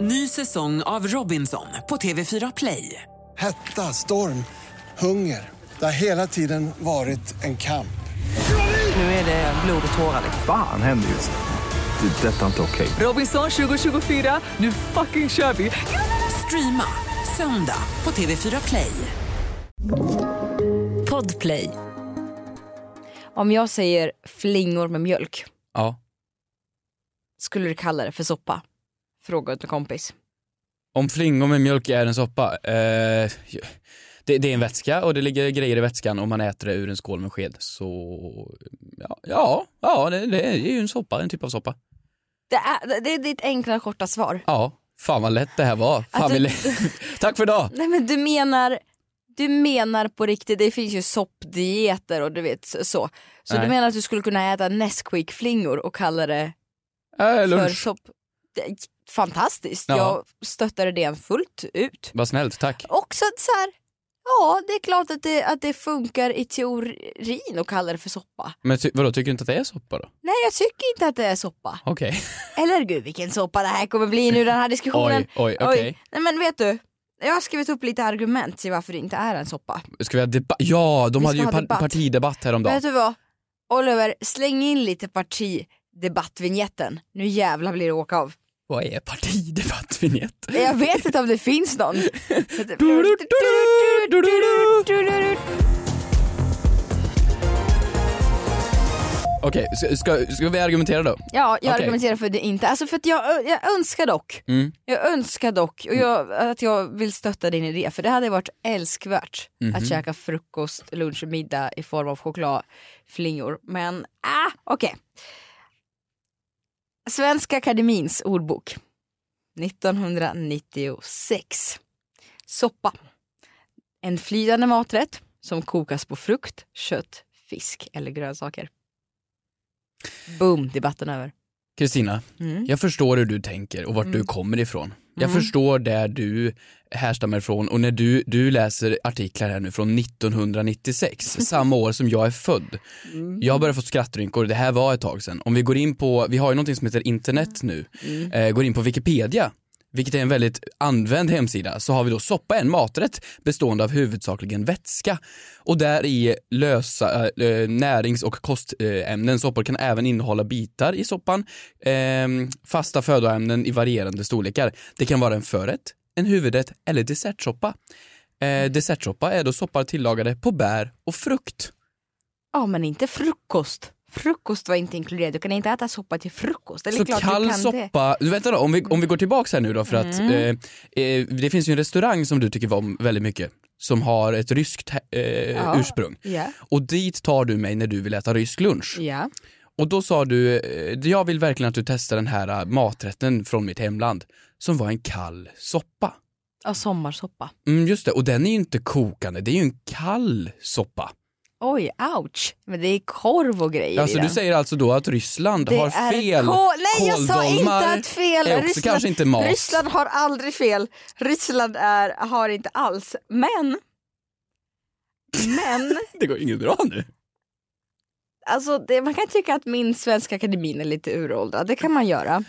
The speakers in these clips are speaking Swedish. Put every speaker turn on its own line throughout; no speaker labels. Ny säsong av Robinson på TV4 Play.
Hetta, storm, hunger. Det har hela tiden varit en kamp.
Nu är det blod och tårar. liksom.
Fan händer just nu. Det. är Detta är inte okej.
Robinson 2024, nu fucking kör vi! Streama söndag på TV4 Play.
Podplay. Om jag säger flingor med mjölk,
Ja.
skulle du kalla det för soppa? Fråga åt en kompis.
Om flingor med mjölk är en soppa? Eh, det, det är en vätska och det ligger grejer i vätskan och man äter det ur en skål med sked. Så ja, ja, ja det, det är ju en soppa, en typ av soppa.
Det är, det är ditt enkla korta svar.
Ja, fan vad lätt det här var. Fan,
Att du-
vad lätt. Tack för idag!
Nej men du menar, du menar på riktigt, det finns ju soppdieter och du vet så. Så
Nej.
du menar att du skulle kunna äta Nesquik-flingor och kalla det
Äh,
för
lunch.
sopp? Det, fantastiskt,
Ja.
jag stöttar idén fullt ut.
Vad snällt, tack.
Också att så här, ja det är klart att det, att det funkar i teorin att kalla det för soppa.
Men ty, vadå, tycker du inte att det är soppa då?
Nej jag tycker inte att det är soppa.
Okej.
Eller gud vilken soppa det här kommer bli nu den här diskussionen.
Oj, oj, okej.
Nej men vet du, jag har skrivit upp lite argument till varför det inte är en soppa.
Ska vi ha debatt? Ja, de
Vi
hade
ska
ju
ha
par-
debatt.
partidebatt häromdagen.
Vet du vad? Oliver, släng in lite partidebattvinjetten. Nu jävlar blir det åka av.
Vad är partidebattvinjett?
Jag vet inte om det finns någon.
Okej, ska, ska, ska vi argumentera då?
Ja, jag
Okej.
argumenterar för det inte. Alltså för att jag, jag önskar dock,
Mm.
jag önskar dock och jag, att jag vill stötta din idé för det hade varit älskvärt
Mhm.
att käka frukost, lunch och middag i form av chokladflingor. Men ah, okej. Svenska Akademins ordbok 1996. Soppa. En flytande maträtt som kokas på frukt, kött, fisk eller grönsaker. Boom, debatten över.
Kristina,
Mm.
jag förstår hur du tänker och vart du kommer ifrån. Jag förstår där du härstammar ifrån och när du, du läser artiklar här nu från 1996, samma år som jag är född. Jag har börjat få skrattrynkor, det här var ett tag sedan. Om vi går in på, vi har ju någonting som heter internet nu, eh, går in på Wikipedia vilket är en väldigt använd hemsida, så har vi då soppa en maträtt bestående av huvudsakligen vätska och där i lösa eh, närings och kostämnen. Soppor kan även innehålla bitar i soppan, ehm, fasta födoämnen i varierande storlekar. Det kan vara en förrätt, en huvudrätt eller dessertsoppa. Eh, dessertsoppa är då soppar tillagade på bär och frukt.
Ja men inte frukost. Frukost var inte inkluderat, du kan inte äta soppa till frukost. Eller
Så
klart du
kall
kan Det. Mm.
soppa, du vänta då, om vi, om vi går tillbaks här nu då för att eh, eh, det finns ju en restaurang som du tycker om väldigt mycket som har ett ryskt eh,
Ja.
ursprung.
Ja.
Och dit tar du mig när du vill äta rysk lunch.
ja.
Och då sa du, eh, jag vill verkligen att du testar den här eh, maträtten från mitt hemland som var en kall soppa.
Ja, sommarsoppa.
Mm, just det, och den är ju inte kokande, det är ju en kall soppa.
Oj, ouch. Men det är korv och grejer
Alltså
i
du
den.
säger alltså då att Ryssland
det
har
är
fel?
kol- Nej jag sa
Kåldolmar
inte att fel.
är också kanske inte mat.
Ryssland har aldrig fel. Ryssland är, har inte alls. Men, men
Det går inget bra nu.
alltså, det, man kan tycka att min Svenska Akademin är lite uråldrad, det kan man göra.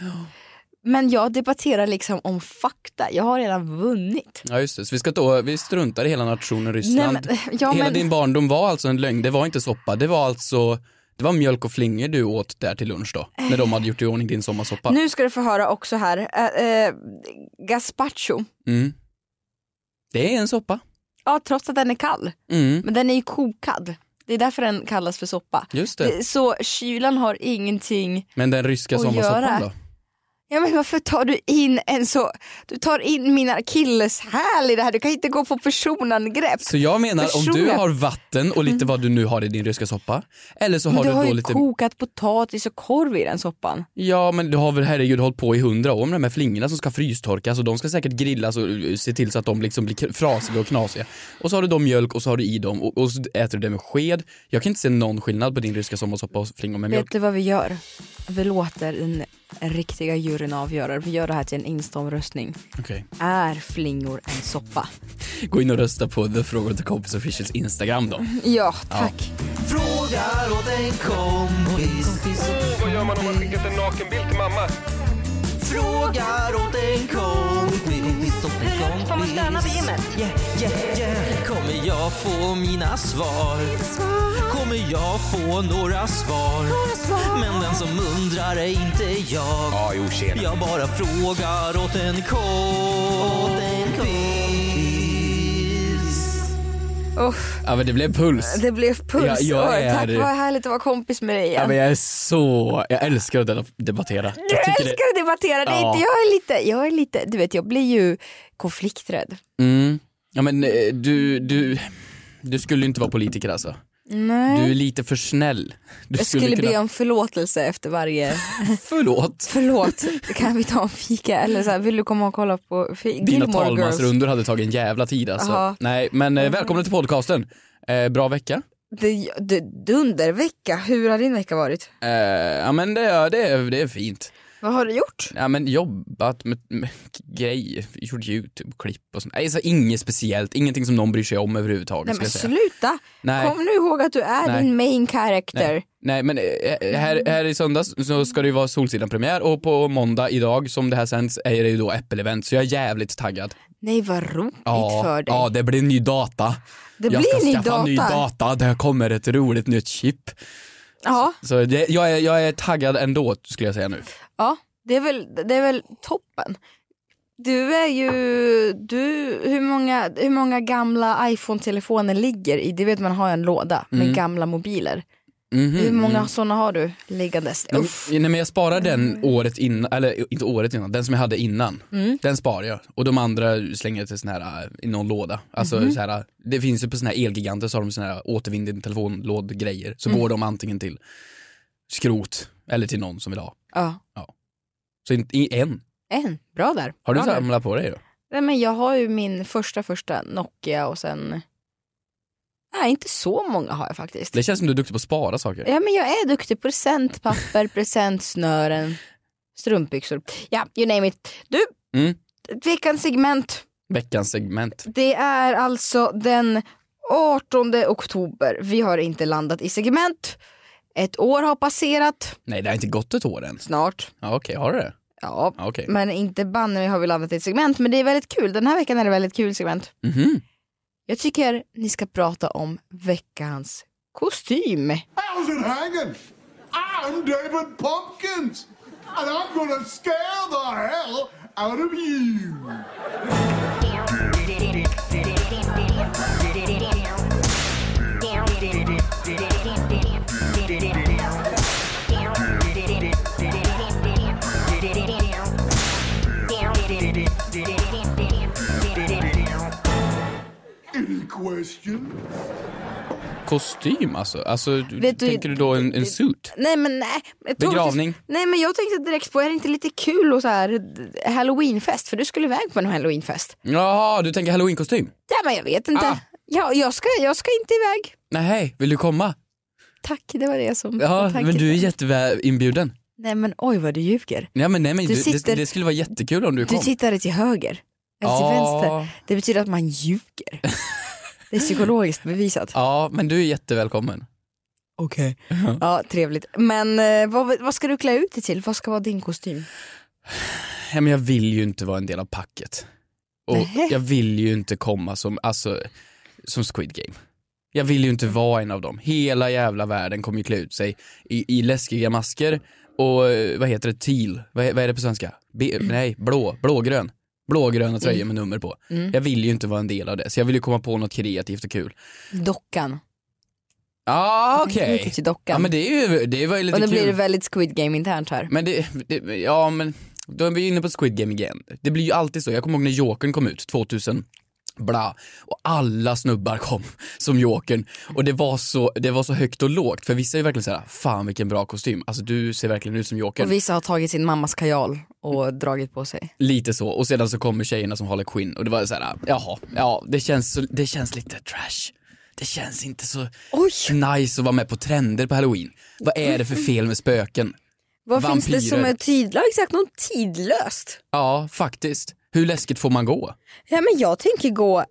Men jag debatterar liksom om fakta, jag har redan vunnit.
Ja just det, så vi, ska då, vi struntar i hela nationen Ryssland.
Nej, men- ja,
hela
men-
din barndom var alltså en lögn, det var inte soppa, det var alltså det var mjölk och flingor du åt där till lunch då, när de hade gjort i ordning din sommarsoppa.
Nu ska du få höra också här, eh, eh, gazpacho.
Mm. Det är en soppa.
Ja, trots att den är kall.
Mm.
Men den är ju kokad. Det är därför den kallas för soppa.
Just det.
Det- Så kylan har ingenting...
Men den ryska
Och göra.
sommarsoppan då?
Ja men varför tar du in en så... Du tar in min akilleshäl i det här. Du kan inte gå på personangrepp.
Så jag menar om du
Personligen.
har vatten och lite vad du nu har i din ryska soppa eller så
Mm. Men
har
du
du,
har
då
ju
lite...
kokat potatis och korv i den soppan.
Ja men du har väl herregud hållit på i hundra år med de här flingorna som ska frystorkas och de ska säkert grillas och uh, se till så att de liksom blir k- frasiga och knasiga. Och så har du då mjölk och så har du i dem och, och så äter du det med sked. Jag kan inte se någon skillnad på din ryska sommarsoppa och flingor med mjölk.
Vet du vad vi gör? Vi låter den riktiga juryn avgöra. Vi gör det här till en instomröstning.
Okej.
Är flingor en soppa?
Gå in och rösta på The Frågor till Kompis Officials Instagram då.
Ja, tack.
Frågar åt en kompis.
Vad gör man om man skickat en nakenbild till mamma?
Frågar åt en kompis.
stanna vid gymmet.
Yeah, yeah, yeah. Kommer jag få mina svar? Kommer jag få några svar? Men den som undrar är inte jag.
Ja, jo, tjena.
Jag bara frågar åt en kompis.
Uff,
Ja men det blev puls.
det blev puls.
Ja, jag
Åh,
är-
Tack, vad härligt att vara kompis med dig igen.
Ja, men jag är så, jag älskar att dela- debattera.
Du
jag tycker
älskar att debattera, det är
Ja.
inte, jag är lite, jag är lite, du vet jag blir ju konflikträdd.
det. Mm. Ja men eh, du, du, du skulle ju inte vara politiker alltså.
Nej.
Du är lite för snäll. Du
jag skulle be om förlåtelse efter varje,
Förlåt.
förlåt, kan vi ta en fika eller så här, vill du komma och kolla på fi-
Dina
Gilmore Girls? Mm.
talmansrundor hade tagit en jävla tid alltså.
Jaha.
Nej men eh, välkommen till podcasten. Eh, bra vecka.
Det, det, dundervecka, hur har din vecka varit?
Eh, ja men det, är- det, är- det är fint.
Vad har du gjort?
Ja men jobbat med, med grejer, gjort YouTube-klipp och sånt. Nej så inget speciellt, ingenting som någon bryr sig om överhuvudtaget
Nej
ska
men
jag säga.
sluta,
Nej.
kom nu ihåg att du är
Nej.
din main character.
Nej men eh, här, här i söndags så ska det ju vara Solsidan-premiär och på måndag idag som det här sänds är det ju då Apple-event så jag är jävligt taggad.
Nej vad roligt för dig.
ja det blir ny data.
det
jag ska
blir ny
skaffa
data.
ny data, det kommer ett roligt nytt chip.
Ja,
Så det, jag, är, jag är taggad ändå skulle jag säga nu.
ja det, är väl, det är väl toppen. Du är ju, du, hur många, hur många gamla iPhone-telefoner ligger i, det vet man har en låda med gamla mobiler.
Mm. Mhm.
Hur många sådana har du liggandes?
Nej,
Uff. Mm.
men- nej men jag sparar den året innan, eller inte året innan, den som jag hade innan. Den sparar jag. Och de andra slänger jag till sån här, äh, i någon låda. Alltså
Mm-hmm.
så här, det finns ju på såna här elgiganter så har de såna här återvinning telefonlådgrejer. Så
Mm.
går de antingen till skrot eller till någon som vill ha.
Ja,
Så inte i en.
en. Bra där.
Har du
Bra där.
samlat på dig då?
Nej men jag har ju min första första Nokia och sen, nej inte så många har jag faktiskt.
Det känns som du är duktig på att spara saker.
Ja men jag är duktig. Presentpapper, presentsnören, strumpbyxor. Ja, you name it. Du,
Mm.
veckans segment.
Veckans segment.
Det är alltså den 18 oktober. Vi har inte landat i segment. Ett år har passerat
Nej det har inte gått ett år än.
snart.
Ja, Okej, har du det?
Ja,
Ja, Okej.
men inte banne mig har vi landat i ett segment. Men det är väldigt kul. Den här veckan är det väldigt kul segment.
Mhm.
Jag tycker ni ska prata om veckans kostym.
How's it hanging? I'm David Pumpkins, and I'm gonna scare the hell out of you. Any questions?
Kostym alltså? alltså du,
Vet du-
tänker du då en, en suit?
Nej men nej. Jag tror-
Begravning.
Nej men jag tänkte direkt på, är det inte lite kul och så här d- halloweenfest? För du skulle iväg på en halloweenfest.
Jaha, du tänker halloweenkostym?
Ja men jag vet inte.
Ah.
Ja, jag, ska, jag ska inte iväg.
Nej, hej, vill du komma?
Tack, det var det som...
Ja,
tack.
men du är jätteinbjuden.
Nej men oj vad du ljuger.
Nej men, nej, men
Du
du
sitter-
det, det skulle vara jättekul om du
Du
kom. Ah.
tittade till höger. Eller till
Ja.
vänster. Det betyder att man ljuger. Det är psykologiskt bevisat.
Ja, men du är jättevälkommen.
Okej.
Ah.
Ja, trevligt. Men eh, vad, vad ska du klä ut dig till? Vad ska vara din kostym?
Ja, men jag vill ju inte vara en del av packet. Och
Nähä.
jag vill ju inte komma som, alltså, som Squid Game. Jag vill ju inte
Mm.
vara en av dem. Hela jävla världen kommer ju klä ut sig i, i läskiga masker och eh, vad heter det, teal, vad, he- vad är det på svenska? Be,
Mm.
nej, blå, blågrön. Blågröna tröjor med nummer på.
Mm.
Jag vill ju inte vara en del av det, så jag vill ju komma på något kreativt och kul.
Dockan.
Ja, okej.
Mm. Mycket till dockan.
Ja men det, är ju, det var ju lite
Och nu
kul.
blir det väldigt Squid Game internt här.
Men det, det, ja men, då är vi inne på Squid Game igen. Det blir ju alltid så, jag kommer ihåg när Jokern kom ut, 2000, bla, och alla snubbar kom som Jokern. Och det var, så, det var så högt och lågt, för vissa är ju verkligen såhär, fan vilken bra kostym, alltså du ser verkligen ut som Jokern.
Och vissa har tagit sin mammas kajal och dragit på sig.
Lite så, och sedan så kommer tjejerna som Harley Quinn och det var såhär, jaha, ja det känns, så, det känns lite trash. Det känns inte så
Oj!
nice att vara med på trender på halloween. Vad är det för fel med spöken?
Vad finns det
Vampyrer.
som är tidlöst? Exakt, något tidlöst.
Ja, faktiskt. Hur läskigt får man gå?
Ja, men jag tänker gå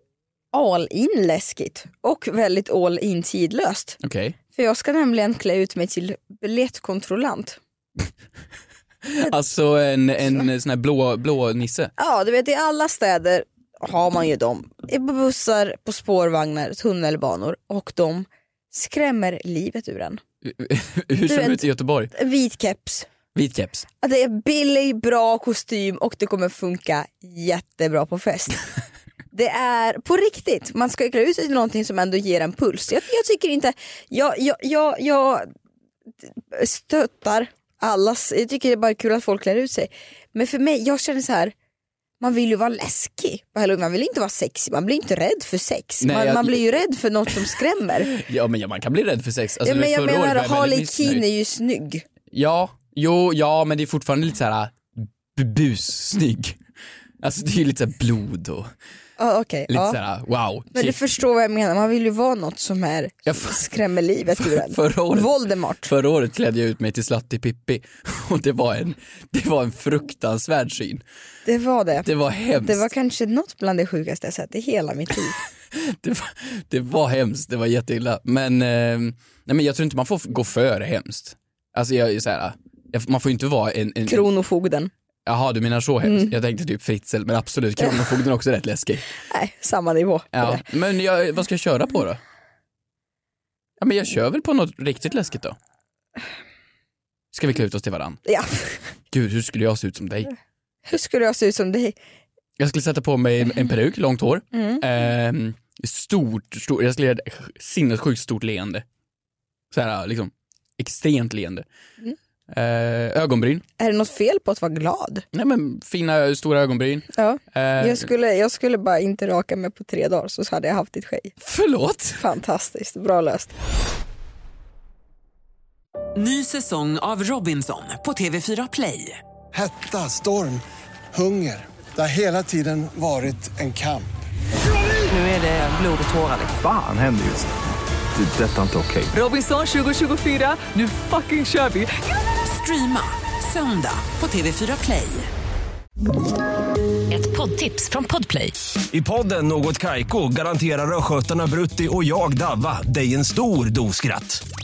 all in läskigt och väldigt all in tidlöst.
Okej.
För jag ska nämligen klä ut mig till biljettkontrollant.
Alltså en, en sån här blå, blå nisse.
Ja, du vet i alla städer har man ju dem i bussar, på spårvagnar, tunnelbanor och de skrämmer livet ur en.
Hur ser
Du
det
vet-
ut i Göteborg?
En Vit keps,
Vit keps.
Att det är billig, bra kostym och det kommer funka jättebra på fest. Det är på riktigt, man ska ju klä ut sig till någonting som ändå ger en puls. Jag, jag tycker inte, jag, jag, jag, jag stöttar allas, jag tycker det är bara kul att folk klär ut sig. Men för mig, jag känner så här. Man vill ju vara läskig på halloween, man vill inte vara sexig, man blir inte rädd för sex.
Nej,
man,
jag-
man blir ju rädd för något som skrämmer.
Ja men ja, man kan bli rädd för sex. Alltså,
ja, men jag
förra året
menar
var jag
Harley
väldigt missnöjd.
Keane är ju snygg.
Ja, jo, ja men det är fortfarande lite såhär bussnygg. Alltså det är ju lite såhär blod och
Ah, okay,
lite
ja.
såhär wow.
Men du
shit.
förstår vad jag menar, man vill ju vara något som är,
Jag f-
skrämmer livet ur en.
Förra året-
Voldemort.
Förra året klädde jag ut mig till Slatti Pippi och det var en, det var en fruktansvärd syn.
Det var det.
Det var hemskt.
Det var kanske något bland det sjukaste jag sett i hela mitt liv.
det var, det var hemskt, det var jätteilla. Men, eh, nej, men jag tror inte man får f- gå före hemskt. Alltså jag är ju så här, jag, man får ju inte vara en... en
Kronofogden.
Jaha, du menar så hemskt. Jag tänkte typ Fritzl, men absolut, Kronofogden är också rätt läskig.
Nej, samma nivå.
Ja. Men jag, vad ska jag köra på då? Ja, men jag kör väl på något riktigt läskigt då. Ska vi klä ut oss till varann?
Ja.
Gud, hur skulle jag se ut som dig?
Hur skulle jag se ut som dig?
Jag skulle sätta på mig en- en peruk, långt hår.
Mm.
Ehm, stort, stort, jag skulle göra ett sinnessjukt stort leende. Så här, liksom, extremt leende.
Mm.
Eh, ögonbryn.
Är det något fel på att vara glad?
Nej men fina stora ögonbryn.
Ja.
Eh,
Jag, skulle, jag skulle bara inte raka mig på tre dagar så hade jag haft ditt skägg.
Förlåt!
Fantastiskt, bra löst.
Ny säsong av Robinson på TV4 Play.
Hetta, storm, hunger. Det har hela tiden varit en kamp.
Nu är det blod och tårar.
Fan händer just nu. Det. är Detta är inte okej.
Robinson 2024, nu fucking kör vi! Streama söndag på TV4 Play.
Ett poddtips från Podplay.
I podden Något Kaiko garanterar östgötarna Brutti och jag, Davva, dig en stor dos skratt.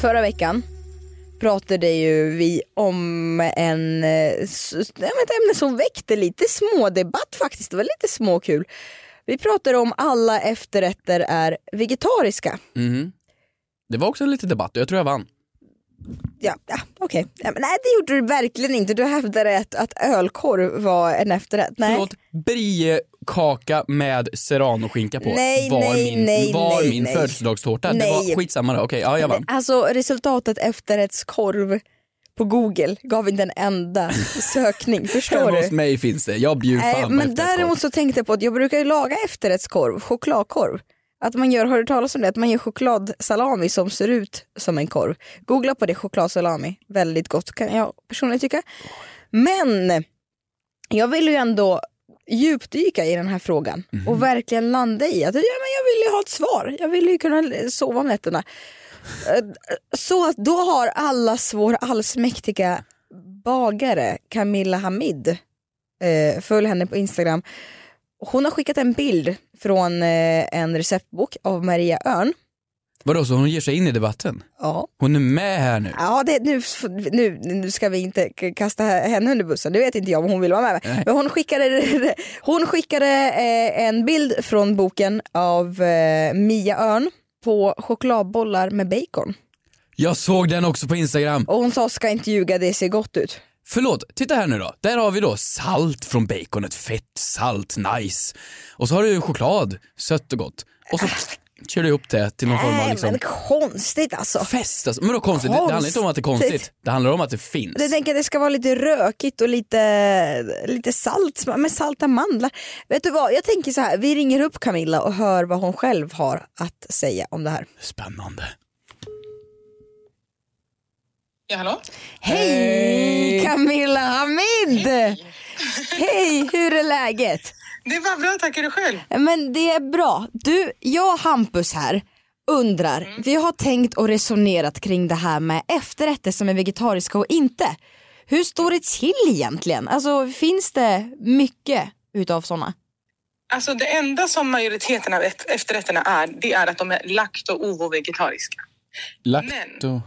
Förra veckan pratade ju vi om en, eh, s- s- ja, men ett ämne som väckte lite smådebatt faktiskt. Det var lite småkul. Vi pratade om alla efterrätter är vegetariska.
Det var också lite debatt och jag tror jag vann.
Ja, ja okej. Ja, men nej det gjorde du verkligen inte. Du hävdade att, att ölkorv var en efterrätt. Nej.
Förlåt, briekaka med serranoskinka på
Nej,
var
nej,
min,
nej,
var
nej,
min
nej.
födelsedagstårta. Det
Nej.
var skitsamma då, okej, ja jag vann.
Alltså resultatet efterrättskorv på google gav inte en enda sökning. Förstår
Hemma
du?
hos mig finns det, jag bjuder fan
Nej,
på
men
efterrättskorv.
däremot så tänkte jag på att jag brukar ju laga efterrättskorv, chokladkorv. Att man gör, har du talat om det? Att man gör chokladsalami som ser ut som en korv. Googla på det, chokladsalami. Väldigt gott kan jag personligen tycka. Men jag vill ju ändå djupdyka i den här frågan och verkligen landa i att ja, men jag vill ju ha ett svar. Jag vill ju kunna sova om nätterna. Eh, Så att då har allas vår allsmäktiga bagare Camilla Hamid eh, följ henne på Instagram. Hon har skickat en bild från eh, en receptbok av Maria Örn.
Vadå, så hon ger sig in i debatten?
Ja.
Hon är med här nu?
Ja, det, nu, nu, nu ska vi inte k- kasta henne under bussen, det vet inte jag om hon vill vara med. Men hon skickade, hon skickade eh, en bild från boken av eh, Mia Örn på chokladbollar med bacon.
Jag såg den också på Instagram.
Och hon sa ska inte ljuga, det ser gott ut.
Förlåt, titta här nu då. Där har vi då salt från baconet, fett, salt, nice. Och så har du choklad, sött och gott. Och så kör du ihop det till någon form av
Nej
liksom
men konstigt alltså.
fest. Alltså. Men då konstigt, Det, det handlar inte om att det är konstigt.
Konstigt.
Det handlar om att det finns.
Jag tänker att det ska vara lite rökigt och lite, lite salt, med salta mandlar. Vet du vad, jag tänker så här, vi ringer upp Camilla och hör vad hon själv har att säga om det här.
Spännande.
Hej! Camilla Hamid! Hej, hur är läget?
Det är bara bra, tack. Är du själv?
Men det är bra. Du, jag och Hampus här undrar, vi har tänkt och resonerat kring det här med efterrätter som är vegetariska och inte. Hur står det till egentligen? Alltså finns det mycket utav sådana?
Alltså det enda som majoriteten av ett- efterrätterna är, det är att de är lakt och ovo-vegetariska.
Lacto...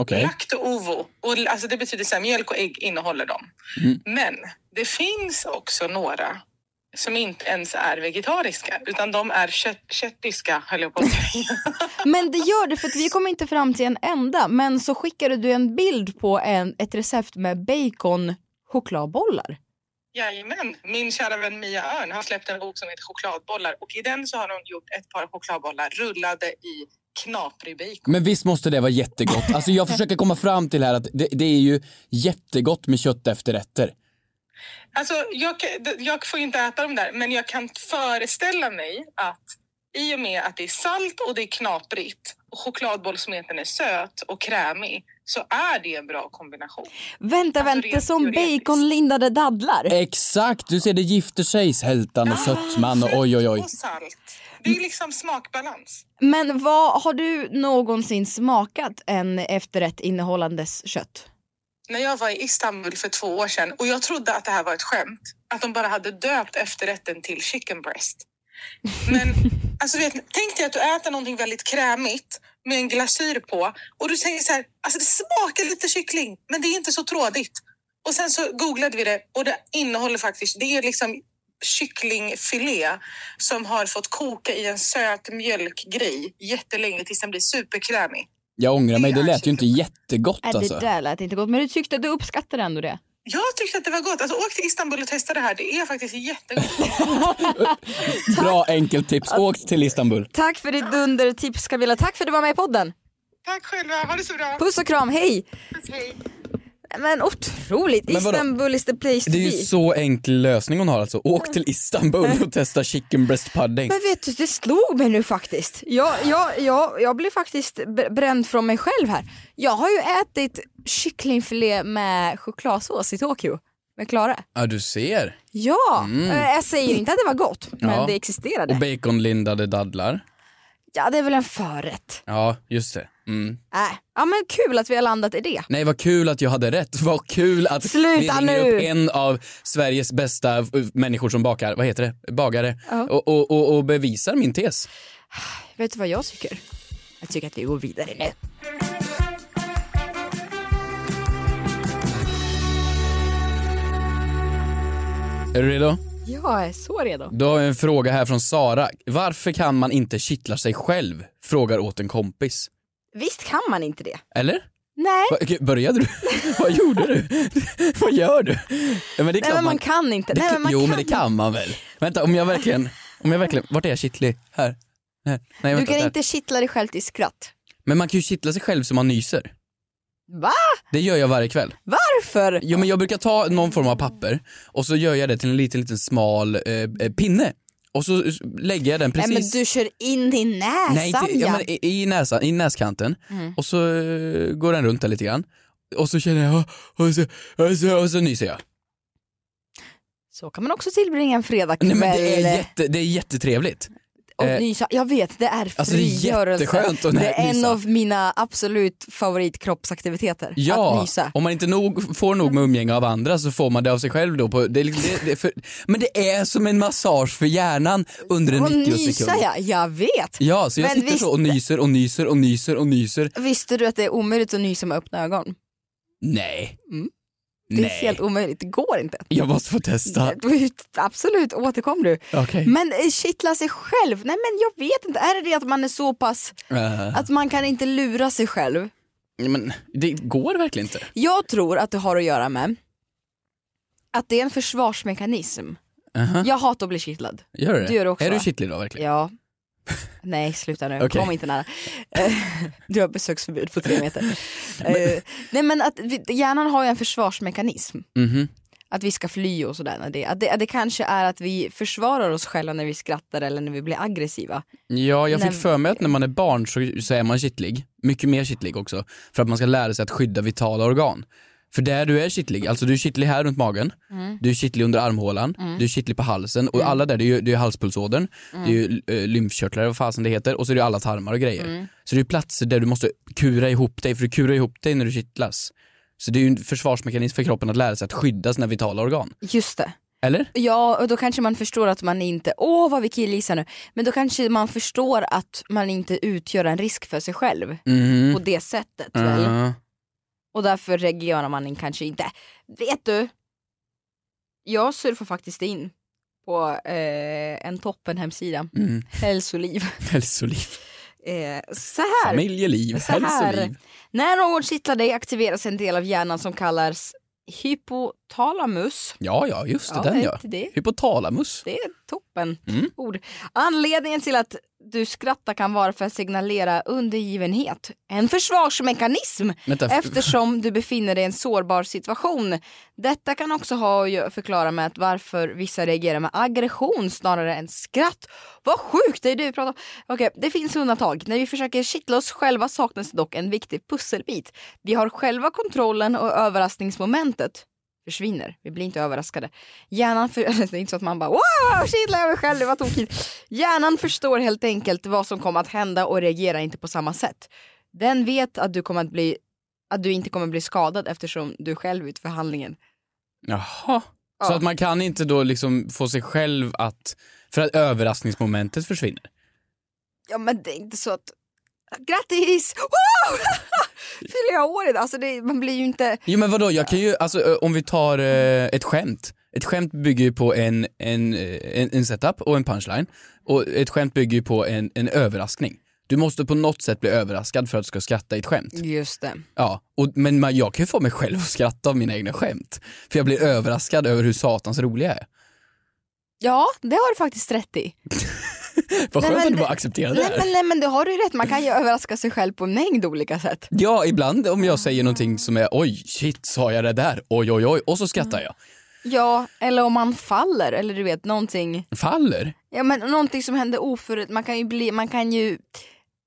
Okej.
Lakt och ovo, och, l- alltså det betyder så här, mjölk och ägg innehåller dem.
Mm.
Men det finns också några som inte ens är vegetariska, utan de är kött, köttiska, höll jag på att säga.
Men det gör det för att vi kommer inte fram till en enda men så skickade du en bild på en, ett recept med bacon chokladbollar.
Jajamän, min kära vän Mia Örn har släppt en bok som heter Chokladbollar och i den så har hon gjort ett par chokladbollar rullade i knaprig bacon.
Men visst måste det vara jättegott? Alltså jag försöker komma fram till här att det, det är ju jättegott med kött efter rätter.
Alltså, jag, kan- d- jag får ju inte äta dem där, men jag kan föreställa mig att i och med att det är salt och det är knaprigt och chokladbollsmeten är söt och krämig så är det en bra kombination.
Vänta, vänta, som baconlindade dadlar.
Exakt, du ser det gifter sig sältan och sötman och oj oj oj.
Ah, Och salt. Det är liksom smakbalans.
Men vad, har du någonsin smakat en efterrätt innehållandes kött?
När jag var i Istanbul för två år sedan och jag trodde att det här var ett skämt, att de bara hade döpt efterrätten till chicken breast. Men alltså vet, ni, tänk dig att du äter någonting väldigt krämigt med en glasyr på och du tänker så här, alltså det smakar lite kyckling men det är inte så trådigt. Och sen så googlade vi det och det innehåller faktiskt, det är liksom kycklingfilé som har fått koka i en söt mjölkgrej jättelänge tills den blir superkrämig.
Jag ångrar mig, det lät ju inte jättegott
Äh,
alltså.
Det där lät inte gott, men du tyckte du uppskattade ändå det.
Jag tyckte att det var gott. Alltså, åk till Istanbul och testa det här. Det är faktiskt jättegott.
Bra enkelt tips, åk till Istanbul.
Tack för ditt dundertips Camilla, tack för att du var med i podden.
Tack själva. Ha det så bra.
Puss och kram, hej!
Puss, hej.
Men otroligt,
Men vadå?
Istanbul is the place to
Det är ju
be.
så enkel lösning hon har alltså. Åk till Istanbul och testa chicken breast pudding.
Men vet du, det slog mig nu faktiskt. Jag, jag, jag, jag blev faktiskt br- bränd från mig själv här. Jag har ju ätit kycklingfilé med chokladsås i Tokyo med Klara.
Ja du ser.
Ja,
Mm.
eh, jag säger inte att det var gott, men
Ja.
det
Och
existerade.
baconlindade dadlar.
Ja, det är väl en förrätt.
Ja, just det. Mm.
Äh. Ja, men kul att vi har landat i det.
Nej vad kul att jag hade rätt, vad kul att
Sluta
vi ringer
nu!
upp en av Sveriges bästa f- människor som bakar, vad heter det, bagare
Ja.
och, och, och, och bevisar min tes.
Vet du vad jag tycker? Jag tycker att vi går vidare nu.
Är du redo?
Jag är så redo.
Då har jag en fråga här från Sara. Varför kan man inte kittla sig själv? Frågar åt en kompis.
Visst kan man inte det?
Eller?
Nej,
Va, okej, började du? vad gjorde du? vad gör du? Ja, men det är
Nej
klart
men man kan inte.
Det,
Nej, men
kan-
man
jo
kan.
men det kan man väl? Vänta om jag verkligen, om jag verkligen, vart är jag kittlig? Här? här. Nej,
Du
vänta,
kan
där.
inte kittla dig själv till skratt.
Men man kan ju kittla sig själv så man nyser.
Va?
Det gör jag varje kväll.
Varför?
Jo men jag brukar ta någon form av papper och så gör jag det till en liten, liten smal eh, eh, pinne. Och så eh, lägger jag den precis...
Nej men du kör in i näsan
Nej, inte, ja, men i, i, näsan, i näskanten.
Mm.
Och så eh, går den runt där lite grann. Och så känner jag, och så, och så, och så nyser jag.
Så kan man också tillbringa en
Nej men det
fredagkväll. eh,
är, jätte, det är jättetrevligt.
och
eh,
nysa. Jag vet, det är
Alltså, det är
frigörelse.
jätteskönt att
det är en
nysa.
av mina absolut favoritkroppsaktiviteter. Att
Ja,
nysa.
om man inte nog, får nog med umgänge av andra så får man det av sig själv då. På, det, är liksom- det, det, är för, men det är som en massage för hjärnan under en
Och
90
nysa
sekund.
ja, jag vet.
Ja, så jag
Men
sitter
visst-
så och nyser och nyser och nyser och nyser.
Visste du att det är omöjligt att nysa med öppna ögon?
Nej.
Mm. Det är
Nej.
helt omöjligt, det går inte.
Jag måste få testa.
Du- Absolut, återkom du.
Okej.
Men eh, kittla sig själv, nej men jag vet inte, är det det att man är så pass,
Eh,
att man kan inte lura sig själv?
men det går verkligen inte.
Jag tror att det har att göra med att det är en försvarsmekanism.
Aha.
Jag hatar att bli kittlad.
Gör du det?
Du gör det också
är du
va?
kittlig då verkligen?
Ja. Nej sluta nu,
Okej.
kom inte nära. Eh, du har besöksförbud på tre meter. Eh, Nej men att vi, hjärnan har ju en försvarsmekanism.
Mhm.
Att vi ska fly och sådär. när Det, att det, att det kanske är att vi försvarar oss själva när vi skrattar eller när vi blir aggressiva.
Ja, jag fick
Nej.
för mig att när man är barn så, så är man kittlig. Mycket mer kittlig också. För att man ska lära sig att skydda vitala organ. För där du är kittlig, alltså du är kittlig här runt magen,
Mm.
du är kittlig under armhålan,
Mm.
du är kittlig på halsen
Mm.
och alla där, det är ju, det är ju halspulsådern, det är ju eh, lymfkörtlar vad fasen det heter och så är det ju alla tarmar och grejer.
Mm.
Så det är ju platser där du måste kura ihop dig, för du kurar ihop dig när du kittlas. Så det är ju en försvarsmekanism för kroppen att lära sig att skydda sina vitala organ.
Just det.
Eller?
Ja, och då kanske man förstår att man inte, åh vad vi killgissar nu, men då kanske man förstår att man inte utgör en risk för sig själv
Mhm.
på det sättet. Väl?
Ja.
Och därför reagerar man kanske inte. Vet du, jag surfar faktiskt in på eh, en toppen hemsida,
Mm.
Hälsoliv.
Hälsoliv,
Eh, så här.
familjeliv,
Så här.
hälsoliv.
När någon kittlar dig aktiveras en del av hjärnan som kallas hypotalamus.
Ja, ja, just det,
Ja,
den
hej
ja.
till det.
Hypotalamus.
Det är toppen
Mm.
ord. Anledningen till att du skrattar kan vara för att signalera undergivenhet. En försvarsmekanism
Vänta, f-
eftersom du befinner dig i en sårbar situation. Detta kan också ha att gö- förklara med att varför vissa reagerar med aggression snarare än skratt. Vad sjukt, det är du vi pratar om. Okej, det finns undantag. När vi försöker kittla oss själva saknas dock en viktig pusselbit. Vi har själva kontrollen och överraskningsmomentet försvinner. Vi blir inte överraskade. Hjärnan för... Det är inte så att man bara wow, kittlar jag mig själv, vad tokigt. Hjärnan förstår helt enkelt vad som kommer att hända och reagerar inte på samma sätt. Den vet att du kommer att bli att du inte kommer att bli skadad eftersom du är själv ut för handlingen.
Jaha. Så
Ja.
att man kan inte då liksom få sig själv att, för att överraskningsmomentet försvinner.
Ja men det är inte så att grattis! Wow! Fyller jag år idag? Alltså det, man blir ju inte...
Jo men vadå, jag kan ju, alltså ö, om vi tar eh, ett skämt. Ett skämt bygger ju på en, en, eh, en, en setup och en punchline. Och ett skämt bygger ju på en, en överraskning. Du måste på något sätt bli överraskad för att du ska skratta i ett skämt.
Just det.
Ja, och, men man, jag kan ju få mig själv att skratta av mina egna skämt. För jag blir överraskad över hur satans roliga jag är.
Ja, det har du faktiskt rätt i.
Vad
Nej,
skönt
men
att du
det-
bara accepterar det
Nej
här.
men, nej men det har du ju rätt, man kan ju överraska sig själv på en mängd olika sätt.
Ja, ibland om jag säger någonting som är oj, shit, sa jag det där? Oj, oj, oj. Och så skrattar jag.
Ja, eller om man faller eller du vet någonting.
Faller?
Ja men någonting som händer oförut, man kan ju bli, man kan ju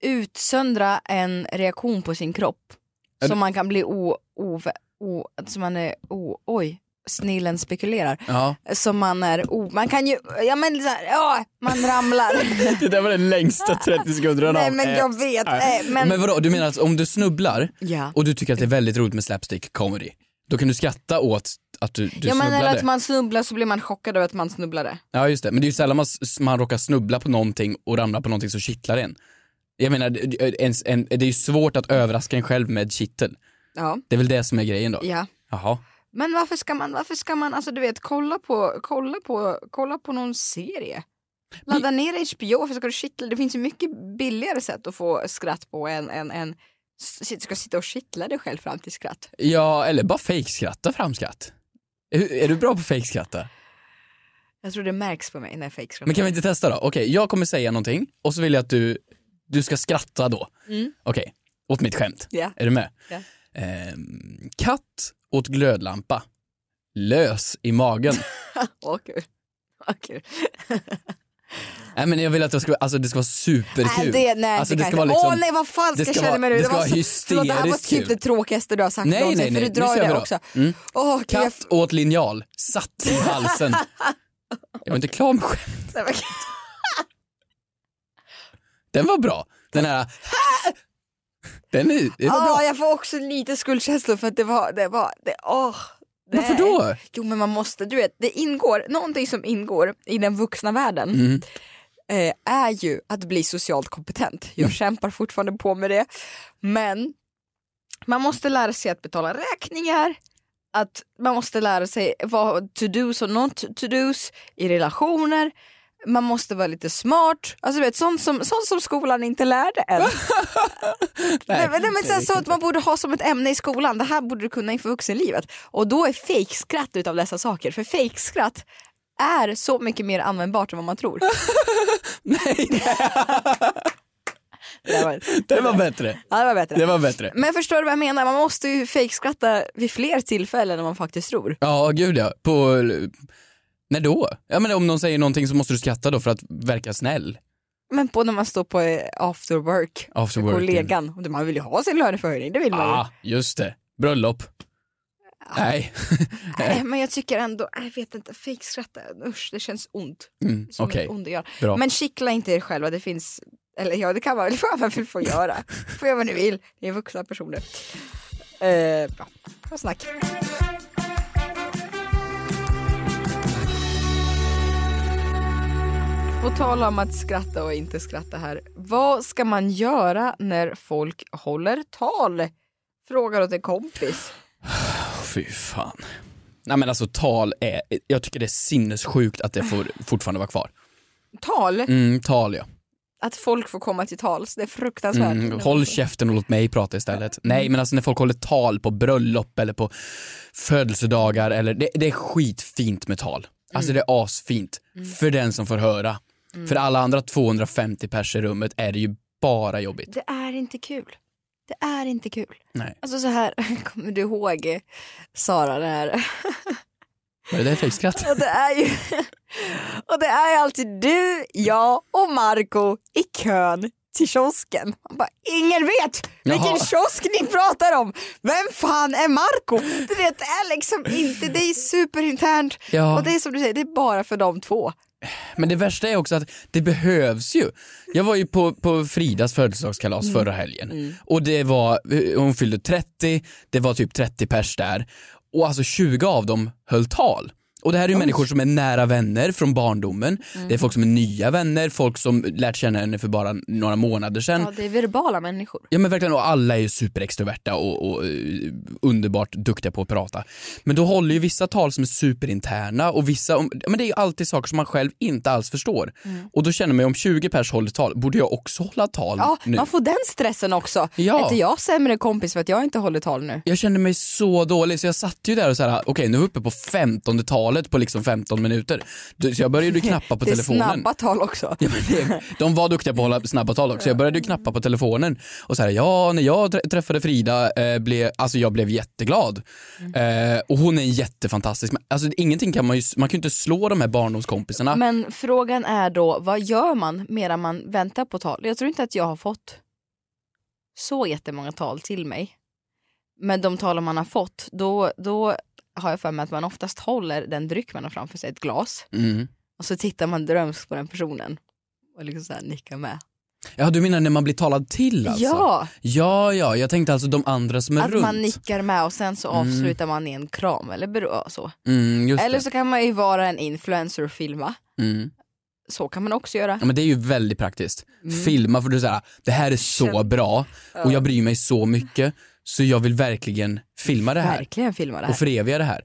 utsöndra en reaktion på sin kropp.
Är
Så
det-
man kan bli o, o, o, som man är, o, oj, snillen spekulerar.
Ja.
Som man är, o, man kan ju, ja men så här, ja, man ramlar.
Det där var den längsta 30 sekunderna
Nej
av
men
ett.
jag vet,
Nej.
nej, men,
Men vadå, du menar att om du snubblar
ja.
och du tycker att det är väldigt roligt med slapstick comedy, då kan du skratta åt att du, du
ja men eller
snubblade?
att man snubblar så blir man chockad över att man snubblade.
Ja just det, men det är ju sällan man, s- man råkar snubbla på någonting och ramla på någonting som kittlar en. Jag menar, det- en, en, det är ju svårt att överraska en själv med kittel.
Ja,
Det är väl det som är grejen då?
ja.
Jaha.
Men varför ska man, varför ska man, alltså du vet kolla på, kolla på, kolla på någon serie. Ladda ner HBO, varför ska du kittla? Det finns ju mycket billigare sätt att få skratt på än, än, än s- ska sitta och kittla dig själv fram till skratt.
Ja, eller bara fejkskratta fram skratt. Är, är du bra på fejkskratta?
Jag tror det märks på mig när jag fejkskrattar.
Men kan vi inte testa då? Okej, jag kommer säga någonting och så vill jag att du, du ska skratta då.
Mm.
Okej, åt mitt skämt.
Ja.
Är du med?
Ja.
Ehm, katt åt glödlampa. Lös i magen.
Åh kul. Åh, kul.
nej men jag vill att det ska, alltså, det ska vara superkul.
Nej, det, nej,
alltså,
det
det
kan
ska
jag inte.
vara liksom,
Åh nej vad fan
det
ska jag
ska
känna
vara-
mig nu?
det ska
var
vara
så- förlåt, det här var
hysteriskt
typ
kul.
det tråkigaste du har sagt
nej, nej,
någonsin för
nej,
du
nu
drar
kör
ju
vi
det
då.
också.
Mm.
Åh gud, jag
Katt åt linjal, satt i halsen. jag var inte klar med skämt.
Nej, men-
Den var bra. Den här... Den är, det var
Ah,
bra.
jag får också lite skuldkänslor för att det var, det var, det, åh. det-
Varför då?
Jo men man måste, du vet, det ingår, någonting som ingår i den vuxna världen
Mm.
eh, är ju att bli socialt kompetent. Jag
Mm.
kämpar fortfarande på med det. Men man måste lära sig att betala räkningar, att man måste lära sig vad to-dos och not to-dos i relationer, man måste vara lite smart, alltså du vet sånt som, sånt som skolan inte lärde en. Nej, men, nej, men sen, så att man borde ha som ett ämne i skolan, det här borde du kunna inför vuxenlivet. Och då är fejkskratt utav dessa saker, för fejkskratt är så mycket mer användbart än vad man tror.
Nej,
Det där var,
den var bättre.
ja, det var bättre.
Det var bättre.
Men förstår du vad jag menar? Man måste ju fejkskratta vid fler tillfällen än man faktiskt tror.
Ja, gud ja. På... När då? Ja, men om någon säger någonting så måste du skratta då för att verka snäll.
Men på när man står på eh, after work,
After
med
work, typ.
kollegan, och man vill ju ha sin löneförhöjning, det vill man ju.
Ah, just det. Bröllop. Nej.
Nej, men jag tycker ändå, jag vet inte, fejkskratta, usch det känns ont.
Mm,
Som
Okej,
ett ont det gör.
bra.
Men kittla inte er själva, det finns, eller ja det kan man väl fan man vill få göra. Får göra vad ni vill, ni är vuxna personer. Eh, bra, bra snack. Och tala om att skratta och inte skratta här. Vad ska man göra när folk håller tal? Frågar åt en kompis.
Fy fan. Nej men alltså tal är, jag tycker det är sinnessjukt att det får, fortfarande vara kvar.
Tal?
Mm, tal ja.
Att folk får komma till tals, Alltså, det är fruktansvärt.
Mm, håll käften och låt mig prata istället. Nej men alltså när folk håller tal på bröllop eller på födelsedagar eller, det, det är skitfint med tal. Alltså det är asfint. För den som får höra. För alla andra 250 pers i rummet är det ju bara jobbigt.
Det är inte kul. Det är inte kul.
Nej.
Alltså så här, kommer du ihåg eh, Sara det här?
Var det där fejkskratt?
Och det är ju och det är ju alltid du, jag och Marco i kön till kiosken. Man bara, ingen vet vilken
Jaha.
kiosk ni pratar om. Vem fan är Marco? Du vet, det är liksom inte, det är superinternt.
Ja.
Och det är som du säger, det är bara för de två.
Men det värsta är också att det behövs ju. Jag var ju på, på Fridas födelsedagskalas förra helgen och det var, hon fyllde 30, det var typ 30 pers där och alltså 20 av dem höll tal. Och det här är ju människor som är nära vänner från barndomen, det är folk som är nya vänner, folk som lärt känna henne för bara några månader sedan.
det är verbala människor.
Ja men verkligen, och alla är ju superextroverta och, och eh, underbart duktiga på att prata. Men då håller ju vissa tal som är superinterna och vissa, om- ja, men det är ju alltid saker som man själv inte alls förstår.
Mm.
Och då känner man ju om 20 pers håller tal, borde jag också hålla tal
Ja,
Mm, nu?
man får den stressen också.
Ja.
Är inte jag sämre kompis för att jag inte håller tal nu?
Jag kände mig så dålig så jag satt ju där och så här, okej nu är vi uppe på 15 talet på liksom 15 minuter. Du- Så jag började ju knappa på
det är
telefonen.
snabba tal också.
Ja, men det, de var duktiga på att hålla snabba tal också. Jag började ju knappa på telefonen och så här, ja, när jag trä- träffade Frida, eh, blev, alltså jag blev jätteglad.
Mm.
Eh, och hon är jättefantastisk. Men, alltså ingenting kan man ju, man kan ju inte slå de här barndomskompisarna.
Men frågan är då, vad gör man medan man väntar på tal? Jag tror inte att jag har fått så jättemånga tal till mig. Men de talen man har fått, då, då har jag för mig att man oftast håller den dryck man har framför sig, ett glas.
Mm.
Och så tittar man drömskt på den personen. Och liksom så här nickar med.
Ja, du menar när man blir talad till alltså?
Ja,
Ja, ja, jag tänkte alltså de andra som är
att
runt.
man nickar med och sen så avslutar man i en kram eller berör så.
mm, just
Eller
det.
så kan man ju vara en influencer och filma.
Mm.
Så kan man också göra.
Ja, men det är ju väldigt praktiskt.
Mm.
Filma för du säger det här är så bra och jag bryr mig så mycket så jag vill verkligen filma det här
Verkligen filma det här.
och föreviga det här.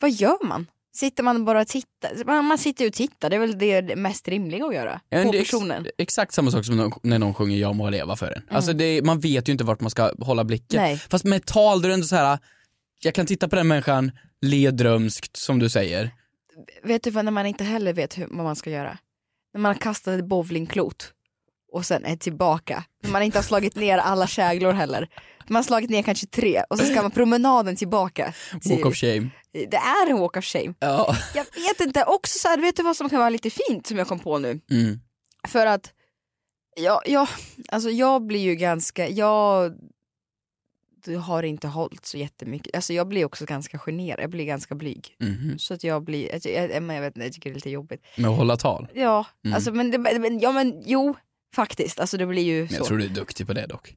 vad gör man? Sitter man bara och tittar? Man, man sitter ju och tittar, det är väl det det mest rimliga att göra.
Ja, men
på
det är ex-
personen. Mm.
Exakt samma sak som någon, när någon sjunger Jag må leva för en. Alltså det, man vet ju inte vart man ska hålla blicken.
Nej.
Fast med tal då är det ändå så här. jag kan titta på den människan, le drömskt som du säger.
Vet du vad, när man inte heller vet hur, vad man ska göra? När man har kastat ett bowlingklot och sen är tillbaka. När man inte har slagit ner alla käglor heller. Man har slagit ner kanske tre och så ska man promenaden tillbaka.
Walk of shame.
Det är en walk of shame.
Ja.
Jag vet inte, också så här, vet du vad som kan vara lite fint som jag kom på nu?
Mm.
För att jag, jag, alltså jag blir ju ganska, jag du har inte hållit så jättemycket. Alltså jag blir också ganska generad, jag blir ganska blyg.
Mhm.
Så att jag blir, jag, jag, men jag vet inte, jag tycker det är lite jobbigt.
Med att hålla tal.
Ja,
Mm.
alltså men, det, men, ja, men jo, faktiskt. Alltså det blir ju
Men
så.
jag tror du är duktig på det dock.